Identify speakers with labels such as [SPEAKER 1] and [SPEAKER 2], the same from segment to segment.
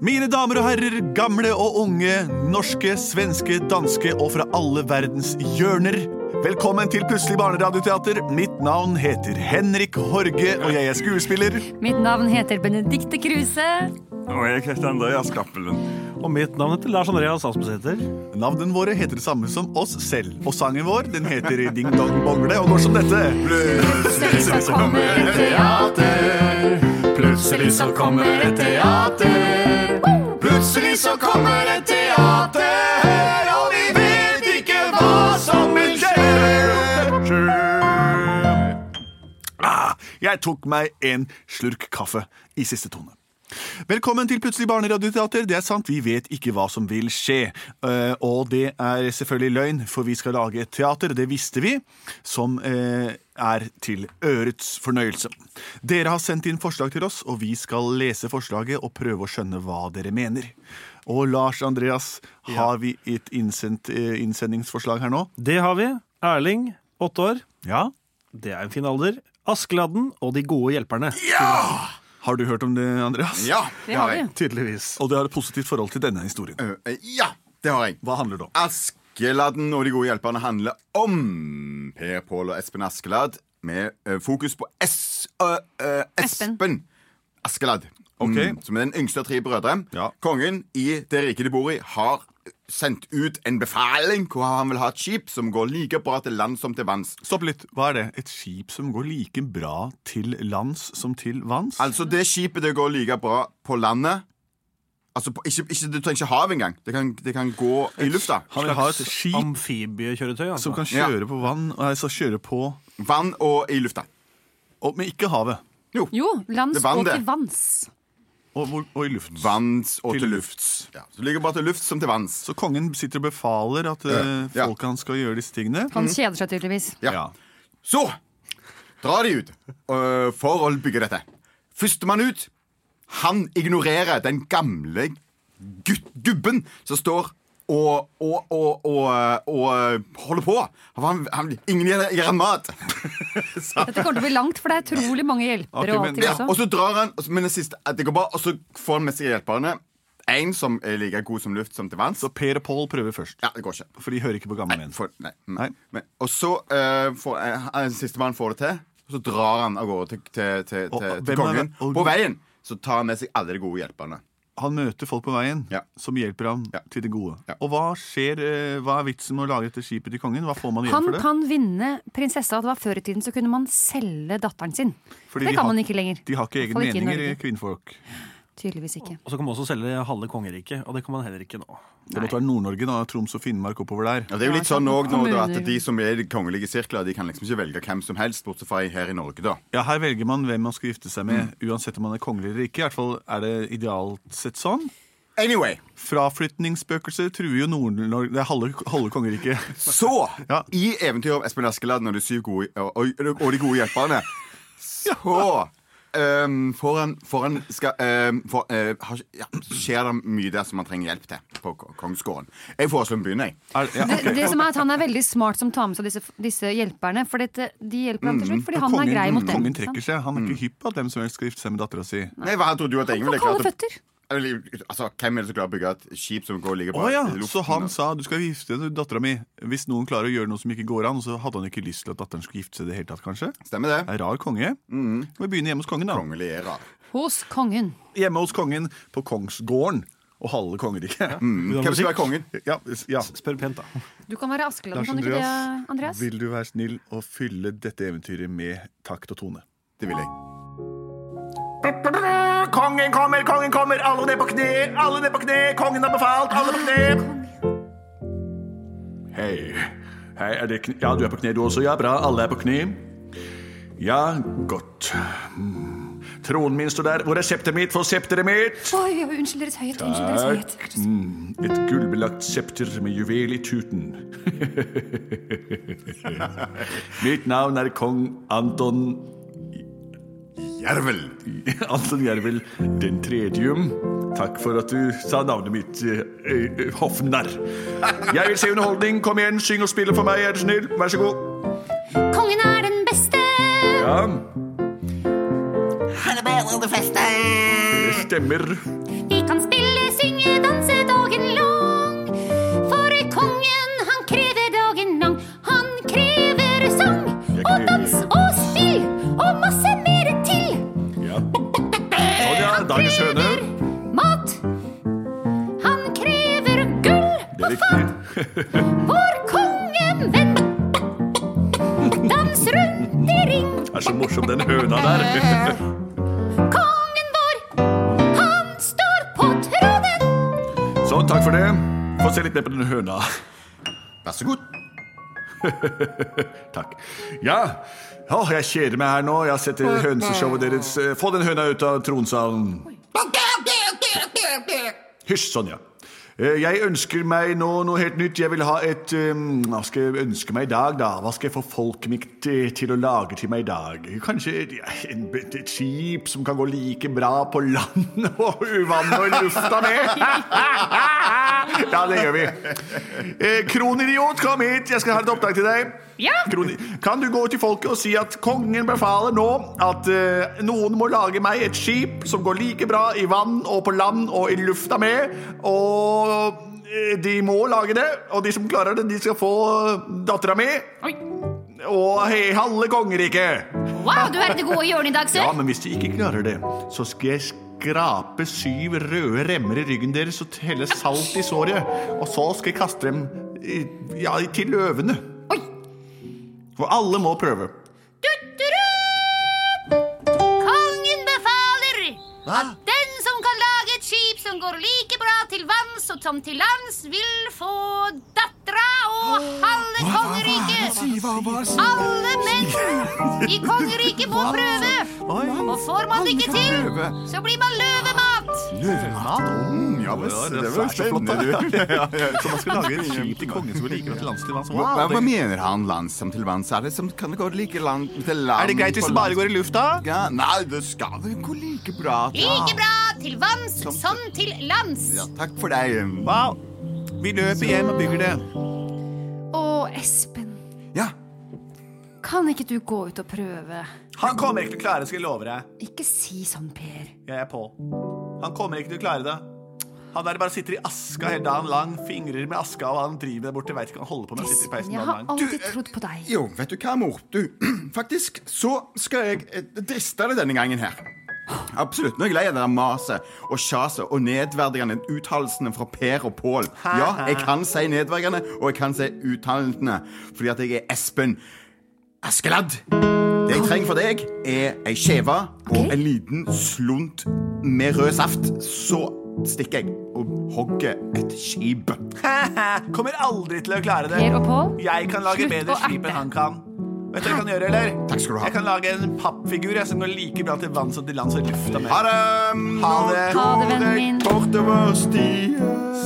[SPEAKER 1] Mine damer og herrer, gamle og unge, norske, svenske, danske og fra alle verdens hjørner. Velkommen til Plutselig barneradioteater. Mitt navn heter Henrik Horge, og jeg er skuespiller.
[SPEAKER 2] Mitt navn heter Benedikte Kruse.
[SPEAKER 3] Og jeg heter Andreas Cappelen.
[SPEAKER 4] Og mitt navn heter Lars Andreas Aspesæter.
[SPEAKER 1] Navnene våre heter det samme som oss selv. Og sangen vår den heter Ding Dong Bongle og går som dette.
[SPEAKER 2] Plutselig så kommer et
[SPEAKER 3] teater. Plutselig
[SPEAKER 2] så kommer et
[SPEAKER 3] teater. Plutselig så kommer et teater, og vi vet ikke hva som vil skje.
[SPEAKER 1] Ah, jeg tok meg en slurk kaffe i siste tone. Velkommen til Plutselig barneradioteater. Det er sant, vi vet ikke hva som vil skje. Eh, og det er selvfølgelig løgn, for vi skal lage et teater, det visste vi, som eh, er til ørets fornøyelse. Dere har sendt inn forslag til oss, og vi skal lese forslaget og prøve å skjønne hva dere mener. Og Lars Andreas, har vi et innsendt, eh, innsendingsforslag her nå?
[SPEAKER 4] Det har vi. Erling, åtte år.
[SPEAKER 1] Ja.
[SPEAKER 4] Det er en fin alder. Askeladden og de gode hjelperne.
[SPEAKER 1] Har du hørt om det, Andreas?
[SPEAKER 3] Ja,
[SPEAKER 2] Det har vi.
[SPEAKER 4] Tydeligvis.
[SPEAKER 1] Og du har et positivt forhold til denne historien.
[SPEAKER 3] Eh, Ja, det har jeg.
[SPEAKER 1] Hva handler det om?
[SPEAKER 3] Askeladden og de gode hjelperne handler om Per Pål og Espen Askeladd, med eh, fokus på S... ø, ø,
[SPEAKER 2] Espen.
[SPEAKER 3] Espen Askeladd. om-
[SPEAKER 1] Ok.
[SPEAKER 3] Som er den yngste av tre brødre.
[SPEAKER 1] Ja.
[SPEAKER 3] Kongen i det riket de bor i, har sendt ut en befaling hvor han vil ha et skip som går like bra til land som til vanns.
[SPEAKER 1] Stopp litt. Hva er det? Et skip som går like bra til lands som til vanns?
[SPEAKER 3] Altså det skipet det går like bra på landet Altså på, ikke, ikke, Du trenger ikke hav engang. Det kan, det kan gå i lufta.
[SPEAKER 1] Han vil ha et skip
[SPEAKER 4] Amfibiekjøretøy, altså.
[SPEAKER 1] som kan
[SPEAKER 3] Ja.
[SPEAKER 1] kjøre på vann Altså kjøre på
[SPEAKER 3] Vann og i lufta.
[SPEAKER 1] og, Men ikke havet.
[SPEAKER 2] Jo, lands
[SPEAKER 3] Det vann,
[SPEAKER 2] og
[SPEAKER 3] det.
[SPEAKER 2] til vanns.
[SPEAKER 1] Og, hvor- og i luft.
[SPEAKER 3] Vanns og
[SPEAKER 1] Til
[SPEAKER 3] til, lufts. Ja, så det ligger bare til luft som til vanns.
[SPEAKER 1] Så kongen sitter og befaler at eh,
[SPEAKER 3] Ja.
[SPEAKER 1] folk han skal gjøre disse tingene.
[SPEAKER 2] Han kjeder seg tydeligvis.
[SPEAKER 3] Ja. Så drar de ut øh, for å bygge dette. Førstemann ut, han ignorerer den gamle gut- gubben som står og, og, og, og, og øh, holder på. Han, han, ingen gir gir han mat.
[SPEAKER 2] Dette kommer til å bli langt, for det er utrolig mange
[SPEAKER 1] Ok,
[SPEAKER 2] hjelpere og
[SPEAKER 1] men-
[SPEAKER 2] alt til
[SPEAKER 3] Ja, og
[SPEAKER 2] også.
[SPEAKER 3] så drar han, og så- men det siste, at det går bra, og så får han med seg hjelperne. En som er like god som luft som til vanns.
[SPEAKER 1] Så Per og Pål prøver først.
[SPEAKER 3] Ja, det går ikke.
[SPEAKER 1] For de hører ikke på gamle menn.
[SPEAKER 3] For, nei, Mm.
[SPEAKER 1] Nei.
[SPEAKER 3] Men, og så uh, får eh, sistemann får det til, og så drar han av gårde til, til, til,
[SPEAKER 1] Og-
[SPEAKER 3] til,
[SPEAKER 1] og hvem
[SPEAKER 3] til
[SPEAKER 1] er
[SPEAKER 3] kongen.
[SPEAKER 1] det? Og-
[SPEAKER 3] På veien så tar han med seg alle de gode hjelperne.
[SPEAKER 1] Han møter folk på veien
[SPEAKER 3] Ja.
[SPEAKER 1] som hjelper ham
[SPEAKER 3] Ja.
[SPEAKER 1] til det gode.
[SPEAKER 3] Ja.
[SPEAKER 1] Og hva skjer, eh, hva er vitsen med å lage dette skipet til kongen? Hva får man igjen
[SPEAKER 2] Han
[SPEAKER 1] for det?
[SPEAKER 2] kan vinne prinsessa. Det var før i tiden så kunne man selge datteren sin.
[SPEAKER 1] Fordi
[SPEAKER 2] det
[SPEAKER 1] de
[SPEAKER 2] kan
[SPEAKER 1] har-
[SPEAKER 2] man ikke lenger.
[SPEAKER 1] De har ikke
[SPEAKER 2] Fall
[SPEAKER 1] egne
[SPEAKER 2] ikke i
[SPEAKER 1] meninger,
[SPEAKER 2] Norge.
[SPEAKER 1] kvinnfolk.
[SPEAKER 2] Tydeligvis ikke.
[SPEAKER 4] Og så kan man også selge halve kongeriket, og det kan man heller ikke nå.
[SPEAKER 1] Det måtte være Nord-Norge, da. Troms og Finnmark oppover der.
[SPEAKER 3] Ja, det er jo
[SPEAKER 2] Ja,
[SPEAKER 3] litt sånn
[SPEAKER 2] sant.
[SPEAKER 3] også nå, da, at
[SPEAKER 2] Kommuner.
[SPEAKER 3] De som er i de kongelige sirkler, De kan liksom ikke velge hvem som helst, bortsett fra her i Norge. da
[SPEAKER 1] Ja, Her velger man hvem man skal gifte seg med,
[SPEAKER 2] Mm.
[SPEAKER 1] uansett om man er kongelig eller ikke. I hvert fall er det idealt sett sånn.
[SPEAKER 3] Anyway,
[SPEAKER 1] Fraflytningsspøkelser truer jo Nord-Norge Det er halve, halve kongeriket.
[SPEAKER 3] Så,
[SPEAKER 1] Ja.
[SPEAKER 3] i eventyret om Espen Askeladd og de, syv gode, og, og, og de gode hjelperne, så ehm, får han, får han skal, ehm, får, eh, har, ja, Skjer det mye der som han trenger hjelp til på ko- kongsgården? Jeg foreslår vi begynner, jeg.
[SPEAKER 1] Er, ja,
[SPEAKER 2] Det,
[SPEAKER 1] ok.
[SPEAKER 2] det som er at Han er veldig smart som tar med seg disse, disse hjelperne. For dette, de hjelper ham til slutt, fordi han
[SPEAKER 1] Mm. kongen,
[SPEAKER 2] er grei mot dem. Mm.
[SPEAKER 1] kongen
[SPEAKER 2] ikke sant?
[SPEAKER 1] trekker seg. Han er ikke hypp på at hvem som helst skal gifte seg med dattera si.
[SPEAKER 3] Nei, hva trodde du at ingen
[SPEAKER 2] Han
[SPEAKER 3] ville
[SPEAKER 2] får kalde
[SPEAKER 3] klart å
[SPEAKER 2] føtter.
[SPEAKER 3] Eller, Altså, Hvem er det som klarer å bygge et skip som går like
[SPEAKER 1] Å
[SPEAKER 3] bra
[SPEAKER 1] ja,
[SPEAKER 3] i luften?
[SPEAKER 1] Så han sa du skal gifte deg med dattera mi hvis noen klarer å gjøre noe som ikke går an. Og så hadde han ikke lyst til at datteren skulle gifte seg i det hele tatt, kanskje.
[SPEAKER 3] Stemmer det?
[SPEAKER 1] Det er rar konge.
[SPEAKER 2] Mm.
[SPEAKER 1] Vi begynner hjemme hos kongen, da.
[SPEAKER 3] Kongelig era.
[SPEAKER 2] Hos kongen.
[SPEAKER 1] Hjemme hos kongen på kongsgården og halve kongeriket.
[SPEAKER 2] Mm.
[SPEAKER 4] Vil du ha
[SPEAKER 3] Hvem skal
[SPEAKER 4] musikk?
[SPEAKER 3] være kongen?
[SPEAKER 1] Ja, ja.
[SPEAKER 4] Spør pent, da.
[SPEAKER 2] Du kan være Askeladden, kan du ikke det, Andreas?
[SPEAKER 1] vil du være snill å fylle dette eventyret med takt og tone?
[SPEAKER 3] Det vil jeg.
[SPEAKER 1] Kongen kommer, kongen kommer! Alle ned på kne! Alle ned på kne! Kongen har befalt! Alle på kne! Hei. Hei, er det kne? Ja, du er på kne du også. Ja, bra. Alle er på kne. Ja, godt. Mm. Tronen min står der. Hvor er septeret mitt? Få septeret mitt!
[SPEAKER 2] Oi, oi, unnskyld Deres Høyhet. Unnskyld Deres Høyhet.
[SPEAKER 1] Et gullbelagt septer med juvel i tuten. Mitt navn er kong Anton
[SPEAKER 3] Jervel.
[SPEAKER 1] Anton Jervel den tredjum. Takk for at du sa navnet mitt, eh, eh, hoffnarr. Jeg vil se underholdning. Kom igjen, syng og spill for meg, er du snill. Vær så god.
[SPEAKER 5] Kongen er den beste!
[SPEAKER 1] Ja,
[SPEAKER 5] Han er bedre enn de fleste!
[SPEAKER 1] det stemmer.
[SPEAKER 5] Vi kan kan spille, synge, danse dagen lang. For kongen, han krever dagen lang. Han krever sang og dans og spill og masse mer til.
[SPEAKER 1] Sånn, ja. Dagens høne.
[SPEAKER 5] Mat. Han krever gull på fat. For kongen, venn. Dans rundt i ring.
[SPEAKER 1] Det er så morsom, den høna der.
[SPEAKER 5] Kongen vår, han står på tronen.
[SPEAKER 1] Sånn, takk for det. Få se litt mer på den høna.
[SPEAKER 3] Vær så god.
[SPEAKER 1] Takk. Ja, Åh, jeg kjeder meg her nå. Jeg har sett det hønseshowet deres. Eh, Få den høna ut av tronsalen. Hysj, Sonja. Eh, Jeg ønsker meg nå noe helt nytt. Jeg vil ha et eh, Hva skal jeg ønske meg i dag, da? Hva skal jeg få folket mitt eh, til å lage til meg i dag? Kanskje et, ja, en, et skip som kan gå like bra på land og i vann og i lufta med? Ja, det gjør vi. Eh, kronidiot, kom hit. Jeg skal ha et oppdrag til deg.
[SPEAKER 2] Ja.
[SPEAKER 1] Kroni kan du gå til folket og si at kongen befaler nå at eh, noen må lage meg et skip som går like bra i vann og på land og i lufta med, og eh, de må lage det, og de som klarer det, de skal få eh, dattera mi
[SPEAKER 2] Oi.
[SPEAKER 1] og he halve kongeriket.
[SPEAKER 5] Wow, du er det gode hjørnet i dag,
[SPEAKER 1] Ja,
[SPEAKER 5] sør.
[SPEAKER 1] men hvis de ikke klarer det, så skal jeg skrape syv røde remmer i ryggen deres og helle salt i såret. Og så skal jeg kaste dem i, ja, til løvene.
[SPEAKER 5] Oi.
[SPEAKER 1] For alle må prøve.
[SPEAKER 5] Kongen befaler at den som kan lage et skip som går like bra til vanns og som til lands, vil få dattera og halve kongeriket. Alle menn i kongeriket må prøve. Og får man det ikke til, så blir man løvemat.
[SPEAKER 3] Mm, ja, men,
[SPEAKER 1] Ja, det
[SPEAKER 3] det,
[SPEAKER 1] er
[SPEAKER 3] var
[SPEAKER 1] så
[SPEAKER 3] spennende, du. ja, ja.
[SPEAKER 1] Så man skal lage et skip til kongen som er like bra til lands til vanns.
[SPEAKER 3] Hva, hva
[SPEAKER 1] Wow, det-
[SPEAKER 3] mener han land som til vanns? Er det som kan det gå like land til land?
[SPEAKER 1] Er det greit hvis
[SPEAKER 3] på
[SPEAKER 1] det bare
[SPEAKER 3] land?
[SPEAKER 1] går i lufta?
[SPEAKER 3] ja, Nei, det skal vel gå like bra.
[SPEAKER 5] Like bra til vanns som til lands.
[SPEAKER 3] Ja, takk for deg.
[SPEAKER 1] Wow. Vi løper hjem og bygger det.
[SPEAKER 2] Å, Espen.
[SPEAKER 3] Ja,
[SPEAKER 2] Kan ikke du gå ut og prøve?
[SPEAKER 1] Han kommer ikke til å klare det, skal jeg love deg.
[SPEAKER 2] Ikke si sånn, Per.
[SPEAKER 1] Jeg er på. Han kommer ikke til å klare det. Han der bare sitter i aska hele dagen lang, fingrer med aska, og han driver der borte. Veit ikke hva han holder på med. Sitter i
[SPEAKER 2] Espen,
[SPEAKER 1] peisen
[SPEAKER 2] jeg
[SPEAKER 1] dagen
[SPEAKER 2] har
[SPEAKER 1] lang. eh,
[SPEAKER 2] alltid trodd på deg.
[SPEAKER 3] Jo, vet du hva, mor? Du, faktisk så skal jeg eh, driste deg denne gangen her. Absolutt. Nå er jeg lei av det der maset og sjaset og nedverdigende uttalelsene fra Per og Pål. Ja, jeg kan si nedverdigende, og jeg kan si uttalelsene, fordi at jeg er Espen Askeladd. Det jeg trenger for deg, er ei skjeve og en liten slunt med rød saft. Så stikker jeg og hogger et skip.
[SPEAKER 1] Kommer aldri til å klare det.
[SPEAKER 2] Per og Pål,
[SPEAKER 1] Jeg kan lage
[SPEAKER 2] slutt
[SPEAKER 1] bedre
[SPEAKER 2] å
[SPEAKER 1] skip
[SPEAKER 2] erte.
[SPEAKER 1] enn han kan. Vet du hva jeg kan gjøre, eller?
[SPEAKER 3] Takk skal du ha.
[SPEAKER 1] Jeg kan lage en pappfigur jeg, som går like bra til vann som til land som i lufta med.
[SPEAKER 3] Ha det!
[SPEAKER 1] Ha det.
[SPEAKER 2] Ha det, vennen
[SPEAKER 3] Korrekt
[SPEAKER 2] min.
[SPEAKER 3] Bortover stien.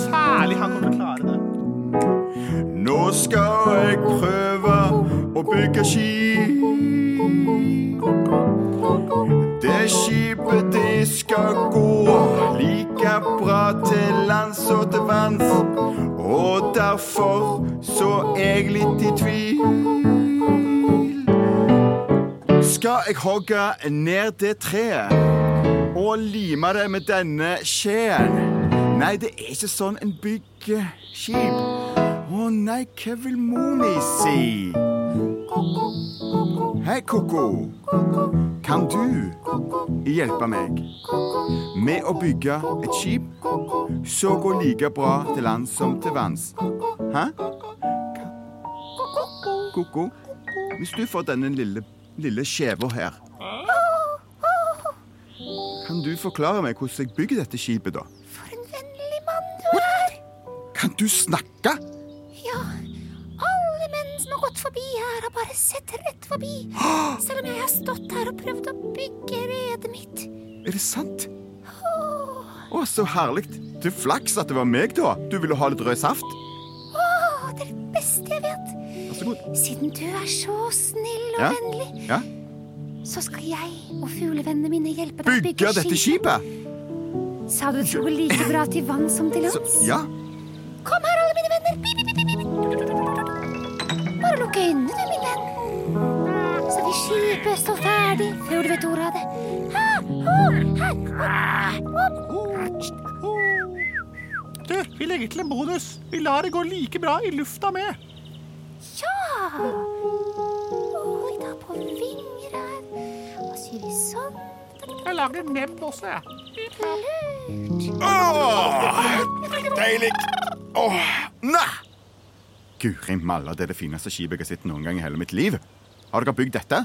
[SPEAKER 1] Særlig han kommer til å klare det.
[SPEAKER 3] Nå skal jeg prøve å bygge skip. Det skipet det skal gå like bra til lands og til vanns. Og derfor så er jeg litt i tvil. Skal jeg hogge ned det treet og lime det med denne skjeen? Nei, det er ikke sånn en bygger skip. Å nei, hva vil mor mi si? Hei, ko-ko. Kan du hjelpe meg med å bygge et skip som går like bra til lands som til vanns? Hæ? Ko-ko, hvis du får denne lille, lille skjeva her Kan du forklare meg hvordan jeg bygger dette skipet, da?
[SPEAKER 5] For en vennlig mann du er.
[SPEAKER 3] Kan du snakke?
[SPEAKER 5] Ja, alle menn som har gått forbi her, har bare sett rett forbi. Selv om jeg har stått her og prøvd å bygge redet mitt.
[SPEAKER 3] Er det sant? Å, så herlig. Du flaks at det var meg, da. Du ville ha litt rød saft?
[SPEAKER 5] Åh, det er det beste jeg vet.
[SPEAKER 3] Vær så god.
[SPEAKER 5] Siden du er så snill og
[SPEAKER 3] Ja.
[SPEAKER 5] vennlig,
[SPEAKER 3] Ja.
[SPEAKER 5] så skal jeg og fuglevennene mine hjelpe deg å
[SPEAKER 3] Bygge
[SPEAKER 5] bygge
[SPEAKER 3] dette skipet?
[SPEAKER 5] Sa du det skulle gå like bra til vann som til
[SPEAKER 3] Så,
[SPEAKER 5] lands?
[SPEAKER 3] ja.
[SPEAKER 5] Kom her, alle mine venner. Pip, pip, pip, pip. Bare lukk øynene, du, min venn. Så vil skipet stå ferdig før du vet ordet av det. Ah, oh, her, opp, opp.
[SPEAKER 6] ikke. Vi legger til en bonus. Vi lar det gå like bra i lufta med.
[SPEAKER 5] Ja! Oi, da på vinger her. Hva sier vi sånn?
[SPEAKER 6] Jeg lager en nebb også, jeg.
[SPEAKER 5] Lurt.
[SPEAKER 3] Deilig! nei! Guri malla, det er det fineste skipet jeg har sett noen gang i hele mitt liv. Har dere bygd dette?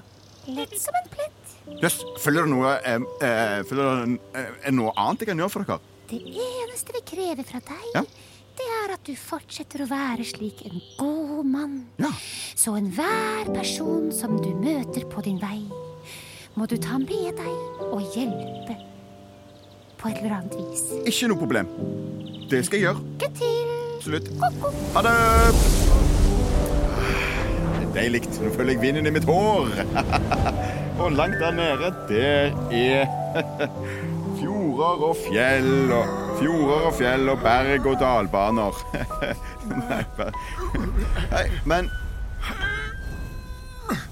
[SPEAKER 5] Lett som en plett.
[SPEAKER 3] Jøss, følger det noe eh, eh, Følger det eh, eh, noe annet jeg kan gjøre for dere?
[SPEAKER 5] Det eneste vi krever fra deg,
[SPEAKER 3] Ja.
[SPEAKER 5] det er at du fortsetter å være slik en god mann.
[SPEAKER 3] Ja.
[SPEAKER 5] Så enhver person som du møter på din vei, må du ta med deg og hjelpe på et eller annet vis.
[SPEAKER 3] Ikke noe problem. Det skal jeg gjøre.
[SPEAKER 5] Lykke til!
[SPEAKER 3] Absolutt. Ha det! Det er Deilig. Nå føler jeg vinden i mitt hår. Og langt der nede, der er fjorder og fjell og Fjorder og fjell og berg og dalbaner. Nei, bare- Nei, men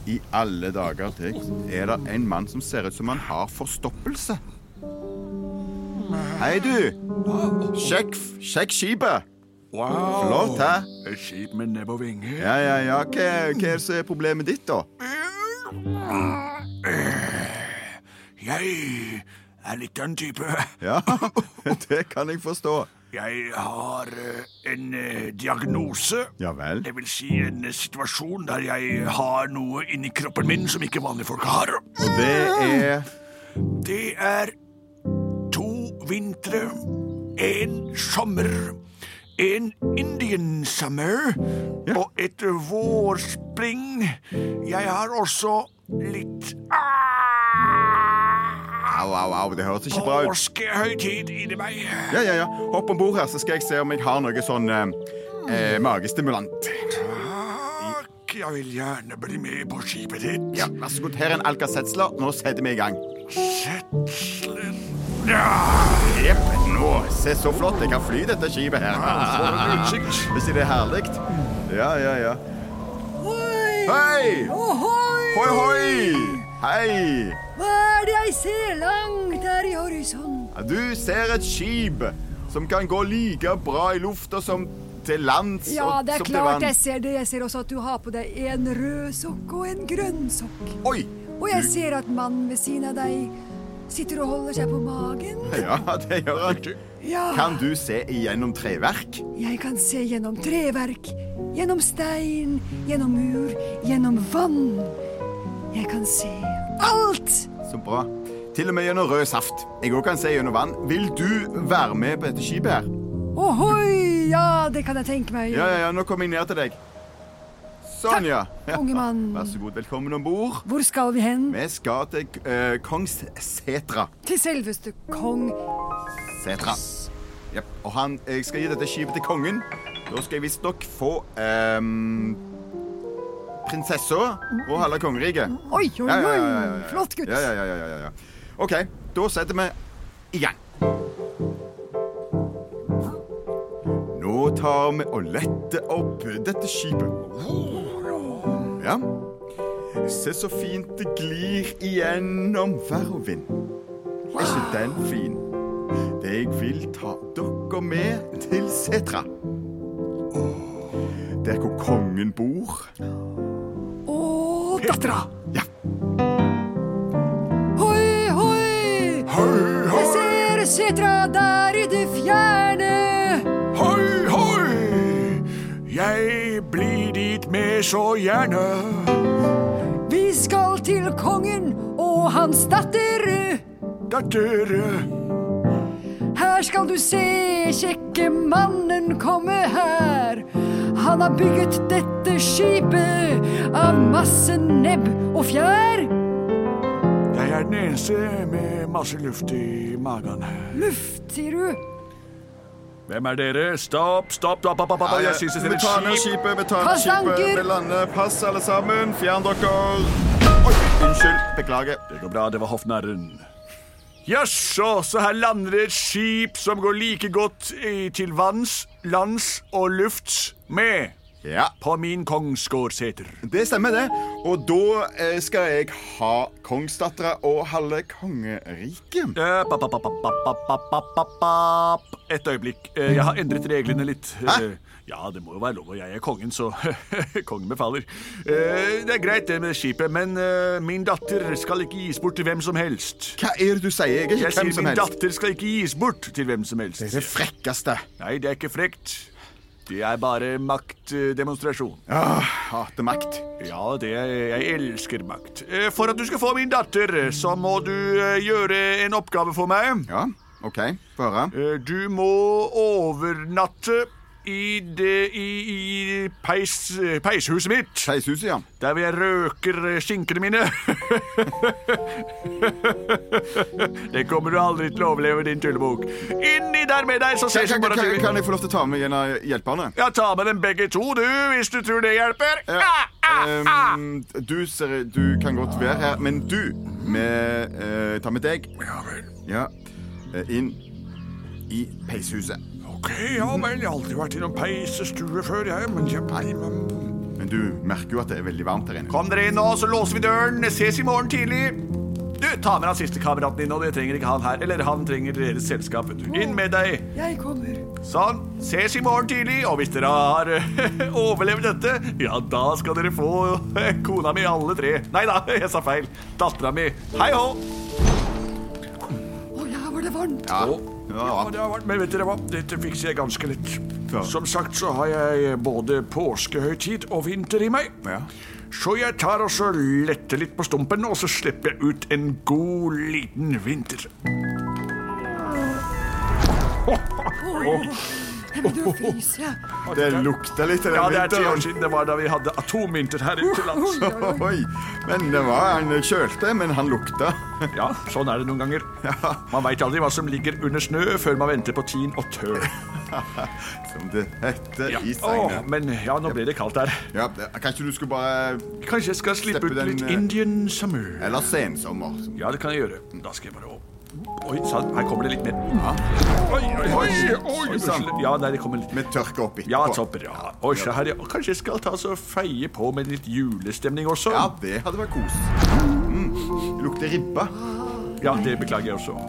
[SPEAKER 3] I alle dager Tex, er det en mann som ser ut som han har forstoppelse. Hei, du. Sjekk, sjekk skipet. Flott, hæ?
[SPEAKER 6] Et skip med nebb og vinger.
[SPEAKER 3] Ja, ja, ja. Hva, hva er så er problemet ditt, da?
[SPEAKER 6] Jeg er litt den type.
[SPEAKER 3] Ja, Det kan jeg forstå.
[SPEAKER 6] Jeg har eh, en eh, diagnose.
[SPEAKER 3] Ja vel?
[SPEAKER 6] Det vil si en eh, situasjon der jeg har noe inni kroppen min som ikke vanlige folk har.
[SPEAKER 3] Og det er
[SPEAKER 6] Det er to vintre, en sommer, en Indian summer og et vårspring. Jeg har også litt ah,
[SPEAKER 3] Au, au, au. Det høres ikke bra ut.
[SPEAKER 6] påskehøytid inni meg.
[SPEAKER 3] Ja, ja, ja. Hopp om bord her, så skal jeg se om jeg har noe sånn eh, eh, magestimulant.
[SPEAKER 6] Takk, jeg vil gjerne bli med på skipet ditt.
[SPEAKER 3] Ja, Vær så god. Her er en Alcacetzler. Nå setter vi i gang.
[SPEAKER 6] Setzler. Ja,
[SPEAKER 3] Jepp. Nå. Se, så flott. Jeg kan fly dette skipet her.
[SPEAKER 6] for en utsikt.
[SPEAKER 3] Hvis det er herlig. Ja, ja, ja. Hei! Hoi, hoi! Hei!
[SPEAKER 7] Hva er det jeg ser langt der i horisont?
[SPEAKER 3] Ja, Du ser et skip som kan gå like bra i lufta som til lands
[SPEAKER 7] Ja,
[SPEAKER 3] og
[SPEAKER 7] det er
[SPEAKER 3] som
[SPEAKER 7] klart
[SPEAKER 3] til
[SPEAKER 7] jeg
[SPEAKER 3] vann.
[SPEAKER 7] ser det. Jeg ser også at du har på deg en rød sokk og en grønn sokk.
[SPEAKER 3] Oi!
[SPEAKER 7] Og jeg ser at mannen ved siden av deg sitter og holder seg på magen.
[SPEAKER 3] Ja, det gjør han.
[SPEAKER 7] Ja,
[SPEAKER 3] Kan du se igjennom treverk?
[SPEAKER 7] jeg kan se gjennom treverk, gjennom stein, gjennom mur, gjennom vann. Jeg kan se alt!
[SPEAKER 3] Så bra. Til og med gjennom rød saft. Jeg òg kan se gjennom vann. Vil du være med på dette skipet her?
[SPEAKER 7] Ohoi! Ja, det kan jeg tenke meg.
[SPEAKER 3] Ja, ja, ja, nå kommer jeg ned til deg. Sånn, ja. Ja,
[SPEAKER 7] unge mann.
[SPEAKER 3] Vær så god. Velkommen om bord.
[SPEAKER 7] Hvor skal vi hen?
[SPEAKER 3] Vi skal til eh, Kongssetra.
[SPEAKER 7] Til selveste kong.
[SPEAKER 3] Setra. Jep, Og han, jeg skal gi dette skipet til kongen. Da skal jeg visstnok få ehm, prinsessa og halve kongeriket.
[SPEAKER 7] Oi, oi,
[SPEAKER 3] Ja, ja,
[SPEAKER 7] oi!
[SPEAKER 3] ja, ja, ja, ja.
[SPEAKER 7] Mm, Flott gutt.
[SPEAKER 3] Ja, ja, ja, ja, ja, ja. OK, da setter vi i gang. Nå tar vi og letter opp dette skipet. Ja. Se så fint det glir igjennom vær og vind. Er ikke den fin? Det jeg vil ta dere med til Setra. Der hvor kongen bor.
[SPEAKER 7] Og dattera.
[SPEAKER 3] Ja.
[SPEAKER 7] Hoi, hoi! Jeg ser setra der i det fjerne.
[SPEAKER 6] Hoi, hoi! Jeg blir dit med så gjerne.
[SPEAKER 7] Vi skal til kongen og hans datter.
[SPEAKER 6] Datter
[SPEAKER 7] Her skal du se kjekke mannen komme her. Han har bygget dette skipet av masse nebb og fjær.
[SPEAKER 6] Jeg er den eneste med masse luft i magen.
[SPEAKER 7] Luft, sier du.
[SPEAKER 6] Hvem er dere? Stopp, stopp, stopp, stopp, stopp. Jeg synes det
[SPEAKER 3] vi
[SPEAKER 6] er
[SPEAKER 3] tar ned
[SPEAKER 6] et skip.
[SPEAKER 3] skipet, vi tar ned
[SPEAKER 7] Kast
[SPEAKER 3] skipet,
[SPEAKER 7] anker.
[SPEAKER 3] vi lander. Pass, alle sammen. Fjern dere. Oi, unnskyld. Beklager.
[SPEAKER 6] Det går bra, det var hoffnarren. Jaså, så her lander det et skip som går like godt i- til vanns, lands og lufts med.
[SPEAKER 3] Ja,
[SPEAKER 6] på min kongsgård seter.
[SPEAKER 3] det stemmer, det. Og da eh, skal jeg ha kongsdattera og halve kongeriket.
[SPEAKER 6] Eh, pa, pa, pa, pa, pa, pa, pa, pa, pa, pa. Et øyeblikk. Eh, Jeg har endret reglene litt. Eh, Ja, det må jo være lov, og jeg er kongen, så kongen befaler. Eh, Det er greit, det med skipet, men eh, min datter skal ikke gis bort til hvem som helst.
[SPEAKER 3] Hva er det du sier? Jeg er
[SPEAKER 6] Jeg
[SPEAKER 3] ikke
[SPEAKER 6] sier
[SPEAKER 3] hvem som
[SPEAKER 6] min
[SPEAKER 3] helst.
[SPEAKER 6] datter skal ikke gis bort til hvem som helst.
[SPEAKER 3] Det er det frekkeste.
[SPEAKER 6] Nei, det er ikke frekt. Det er bare maktdemonstrasjon.
[SPEAKER 3] Åh, hater makt.
[SPEAKER 6] Ja, det er, jeg elsker makt. Eh, For at du skal få min datter, så må du eh, gjøre en oppgave for meg.
[SPEAKER 3] Ja, OK. Få høre.
[SPEAKER 6] Eh, Du må overnatte i, det, i, i peis, eh, peishuset mitt.
[SPEAKER 3] Skeishuset, ja.
[SPEAKER 6] Der hvor jeg røker eh, skinkene mine. det kommer du aldri til å overleve, din tullebok. Inni der med deg, så
[SPEAKER 3] Kan,
[SPEAKER 6] ses vi
[SPEAKER 3] kan,
[SPEAKER 6] bare
[SPEAKER 3] kan,
[SPEAKER 6] til.
[SPEAKER 3] kan jeg få lov til å ta med en av hjelperne?
[SPEAKER 6] Ja, ta med dem begge to, du, hvis du tror det hjelper.
[SPEAKER 3] Eh,
[SPEAKER 6] Ah, ah, ah.
[SPEAKER 3] ehm, du, ser, du kan godt være her, men du med, eh, Ta med deg
[SPEAKER 6] Ja vel.
[SPEAKER 3] ja, eh, inn i peishuset.
[SPEAKER 6] Ok, ja vel. Jeg har aldri vært i noen peisestue før, jeg. Men jeg...
[SPEAKER 3] Men du merker jo at det er veldig varmt der inne.
[SPEAKER 6] Kom dere inn nå, så låser vi døren. Ses i morgen tidlig. Du, Ta med assistkameraten din, og det trenger ikke han her. Eller han trenger deres selskap. vet du. Inn med deg.
[SPEAKER 7] Jeg kommer.
[SPEAKER 6] Sånn. Ses i morgen tidlig. Og hvis dere har eh, overlevd dette, ja, da skal dere få eh, kona mi alle tre. Nei da, jeg sa feil. Dattera mi. Hei hå.
[SPEAKER 7] Å ja, var det varmt?
[SPEAKER 3] Ja.
[SPEAKER 6] Ja,
[SPEAKER 3] Ja.
[SPEAKER 6] det har vært, men vet dere hva? Dette fikser jeg ganske lett.
[SPEAKER 3] Ja.
[SPEAKER 6] Som sagt så har jeg både påskehøytid og vinter i meg.
[SPEAKER 3] Ja.
[SPEAKER 6] Så jeg tar og så letter litt på stumpen, og så slipper jeg ut en god liten vinter.
[SPEAKER 7] Jeg begynner å fryse.
[SPEAKER 3] Det lukter litt av
[SPEAKER 6] Ja, det
[SPEAKER 3] den
[SPEAKER 6] er ti år
[SPEAKER 3] vinteren.
[SPEAKER 6] siden det var da vi hadde atomvinter her ute til lands.
[SPEAKER 3] Oi, men det var Han kjølte, men han lukta.
[SPEAKER 6] Ja, sånn er det noen ganger. Man veit aldri hva som ligger under snø før man venter på tin og tøl.
[SPEAKER 3] Som det heter
[SPEAKER 6] Ja.
[SPEAKER 3] i
[SPEAKER 6] Åh,
[SPEAKER 3] sangen.
[SPEAKER 6] men ja, nå ble det kaldt der.
[SPEAKER 3] Ja, kanskje du skulle bare
[SPEAKER 6] Kanskje jeg skal slippe
[SPEAKER 3] Slippe
[SPEAKER 6] ut
[SPEAKER 3] den,
[SPEAKER 6] litt
[SPEAKER 3] eh,
[SPEAKER 6] Indian summer.
[SPEAKER 3] Eller sensommer.
[SPEAKER 6] Ja, det kan jeg gjøre. Da skal jeg bare opp. Oi sann, her kommer det litt mer. Oi, oi, oi, oi,
[SPEAKER 3] Oi, sann.
[SPEAKER 6] unnskyld. Ja, nei, det kommer litt
[SPEAKER 3] Vi tørker opp
[SPEAKER 6] Ja,
[SPEAKER 3] etterpå.
[SPEAKER 6] topper, ja. Oi, se her, ja. Kanskje jeg skal ta så feie på med litt julestemning også?
[SPEAKER 3] Ja, det hadde vært kos. Mm. Lukter ribba.
[SPEAKER 6] Ja, det beklager jeg også.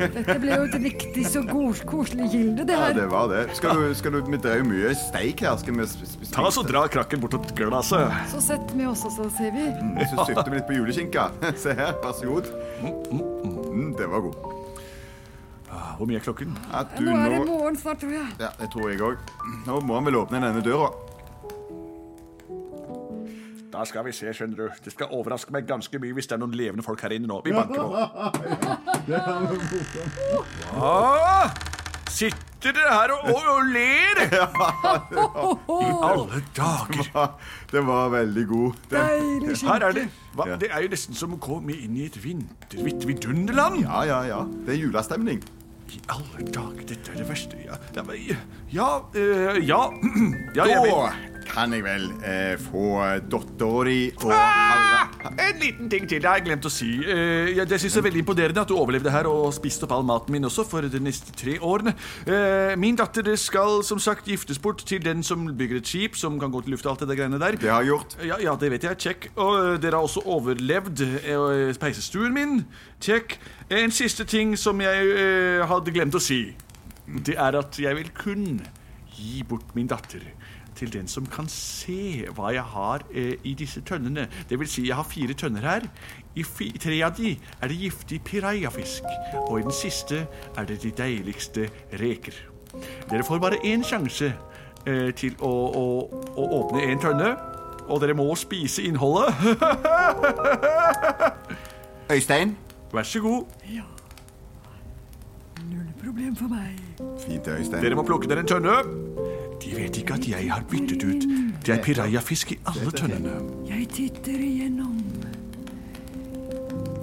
[SPEAKER 7] Dette ble jo et riktig så god, koselig gilde, det
[SPEAKER 3] Ja,
[SPEAKER 7] her.
[SPEAKER 3] det var det. Skal du, skal du, vi drev jo mye steik her. Skal vi sp- sp-
[SPEAKER 6] Ta så dra krakken bortåt glasset.
[SPEAKER 7] Så setter vi oss, og så ser vi.
[SPEAKER 3] Jeg synes søkte vi litt på juleskinka. Se her, vær så god. Mm, det var god.
[SPEAKER 6] Hvor mye er klokken?
[SPEAKER 3] At du
[SPEAKER 7] Nå er det
[SPEAKER 3] nå...
[SPEAKER 7] morgen snart, tror jeg.
[SPEAKER 3] Ja, det tror jeg òg. Nå må han vel åpne denne døra.
[SPEAKER 6] Da skal vi se, skjønner du. Det skal overraske meg ganske mye hvis det er noen levende folk her inne nå. Vi banker på. Ja, Ah! sitter dere her og, og, og ler? I alle dager.
[SPEAKER 3] Ha, Den var veldig god. Den.
[SPEAKER 7] Deilig
[SPEAKER 6] Her er
[SPEAKER 7] skinke.
[SPEAKER 6] det. Hva? Det er jo nesten som å komme inn i et vinterhvitt vidunderland.
[SPEAKER 3] Ja, ja, ja. Det er julestemning.
[SPEAKER 6] I alle dager, dette er det verste. Ja, ja, men- ja, eh, ja. ja jeg vil.
[SPEAKER 3] Da kan jeg vel eh, få dattera di og halve
[SPEAKER 6] Ah, En liten ting til. Det har jeg glemt å si. Eh, jeg- Jeg synes det er veldig imponerende at du overlevde her og spiste opp all maten min også for de neste tre årene. Eh, Min datter skal som sagt giftes bort til den som bygger et skip som kan gå til lufta og alt det der greiene der.
[SPEAKER 3] Det har jeg gjort.
[SPEAKER 6] Ja, ja, det vet jeg. Check. Og eh, dere har også overlevd eh, peisestuen min. Check. En siste ting som jeg eh, hadde glemt å si. Det er at jeg vil kun gi bort min datter til den som kan se hva jeg har eh, i disse tønnene. Det vil si, jeg har fire tønner her. I fi, tre av de er det giftig pirajafisk. Og i den siste er det de deiligste reker. Dere får bare én sjanse eh, til å, å, å åpne en tønne. Og dere må spise innholdet.
[SPEAKER 3] Øystein.
[SPEAKER 6] Vær så god.
[SPEAKER 7] Null problem for meg.
[SPEAKER 3] Fint, Øystein.
[SPEAKER 6] Dere må plukke dere en tønne. De vet ikke at jeg har byttet ut. Det er pirajafisk i alle tønnene.
[SPEAKER 7] Jeg titter igjennom.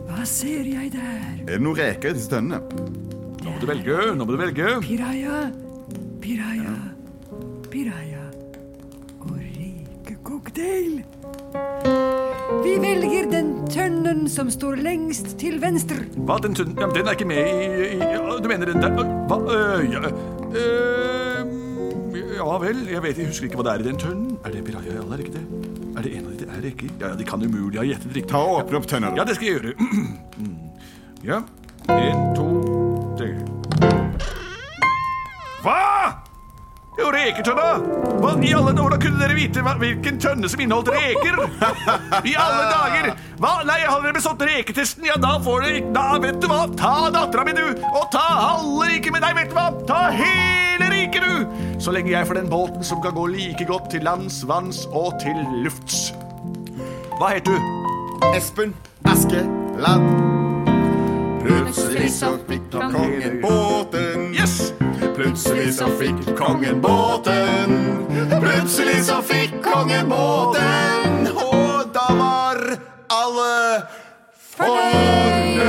[SPEAKER 7] Hva ser jeg der?
[SPEAKER 3] Er det noen reker i disse tønnene?
[SPEAKER 6] Nå må du velge. nå må du velge.
[SPEAKER 7] Piraya, piraya, piraya og rikekocktail. Vi velger den tønnen som står lengst til venstre.
[SPEAKER 6] Hva, den tønnen ja, men Den er ikke med i, i ja, Du mener den der Hva? øh, ja, øh, ja vel, jeg vet, jeg husker ikke hva det er i den tønnen. Er det piraja i alle, er det ikke det? Er det en av de det er det ikke? Ja, ja, de kan umulig ha gjettet riktig.
[SPEAKER 3] Ta og åpne opp tønna.
[SPEAKER 6] Ja, det skal jeg gjøre. Mm. Ja. En, to, tre. Hva?! Ah! Jo, reketønna! Hva i alle dager kunne dere vite hva, hvilken tønne som inneholdt reker? I alle dager! Hva? Nei, har dere bestått reketesten? Ja, da får dere ikke Da, vet du hva! Ta dattera mi, du! Og ta halve riket med deg, vet du hva! Ta hele riket, du! Så lenge jeg får den båten som kan gå like godt til lands, vanns og til lufts. Hva heter du?
[SPEAKER 3] Espen Askeland. Plutselig så fikk kongen båten.
[SPEAKER 6] Yes!
[SPEAKER 3] Plutselig så fikk kongen båten. Plutselig så fikk kongen båten. Og da var alle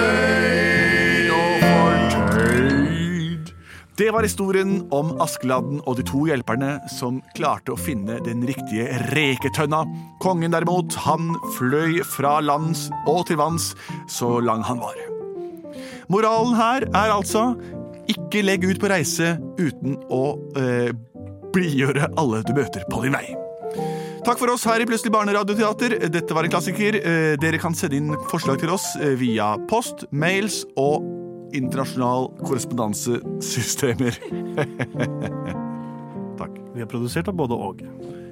[SPEAKER 3] fornøyd.
[SPEAKER 6] og fortøyd. Det var historien om Askeladden og de to hjelperne som klarte å finne den riktige reketønna. Kongen derimot, han fløy fra lands og til vanns så lang han var. Moralen her er altså ikke legg ut på reise uten å eh, blidgjøre alle du møter på din vei. Takk for oss her i Plutselig barneradioteater. Dette var en klassiker. Eh, Dere kan sende inn forslag til oss eh, via post, mails og internasjonal korrespondansesystemer. Takk.
[SPEAKER 4] Vi er produsert av både og.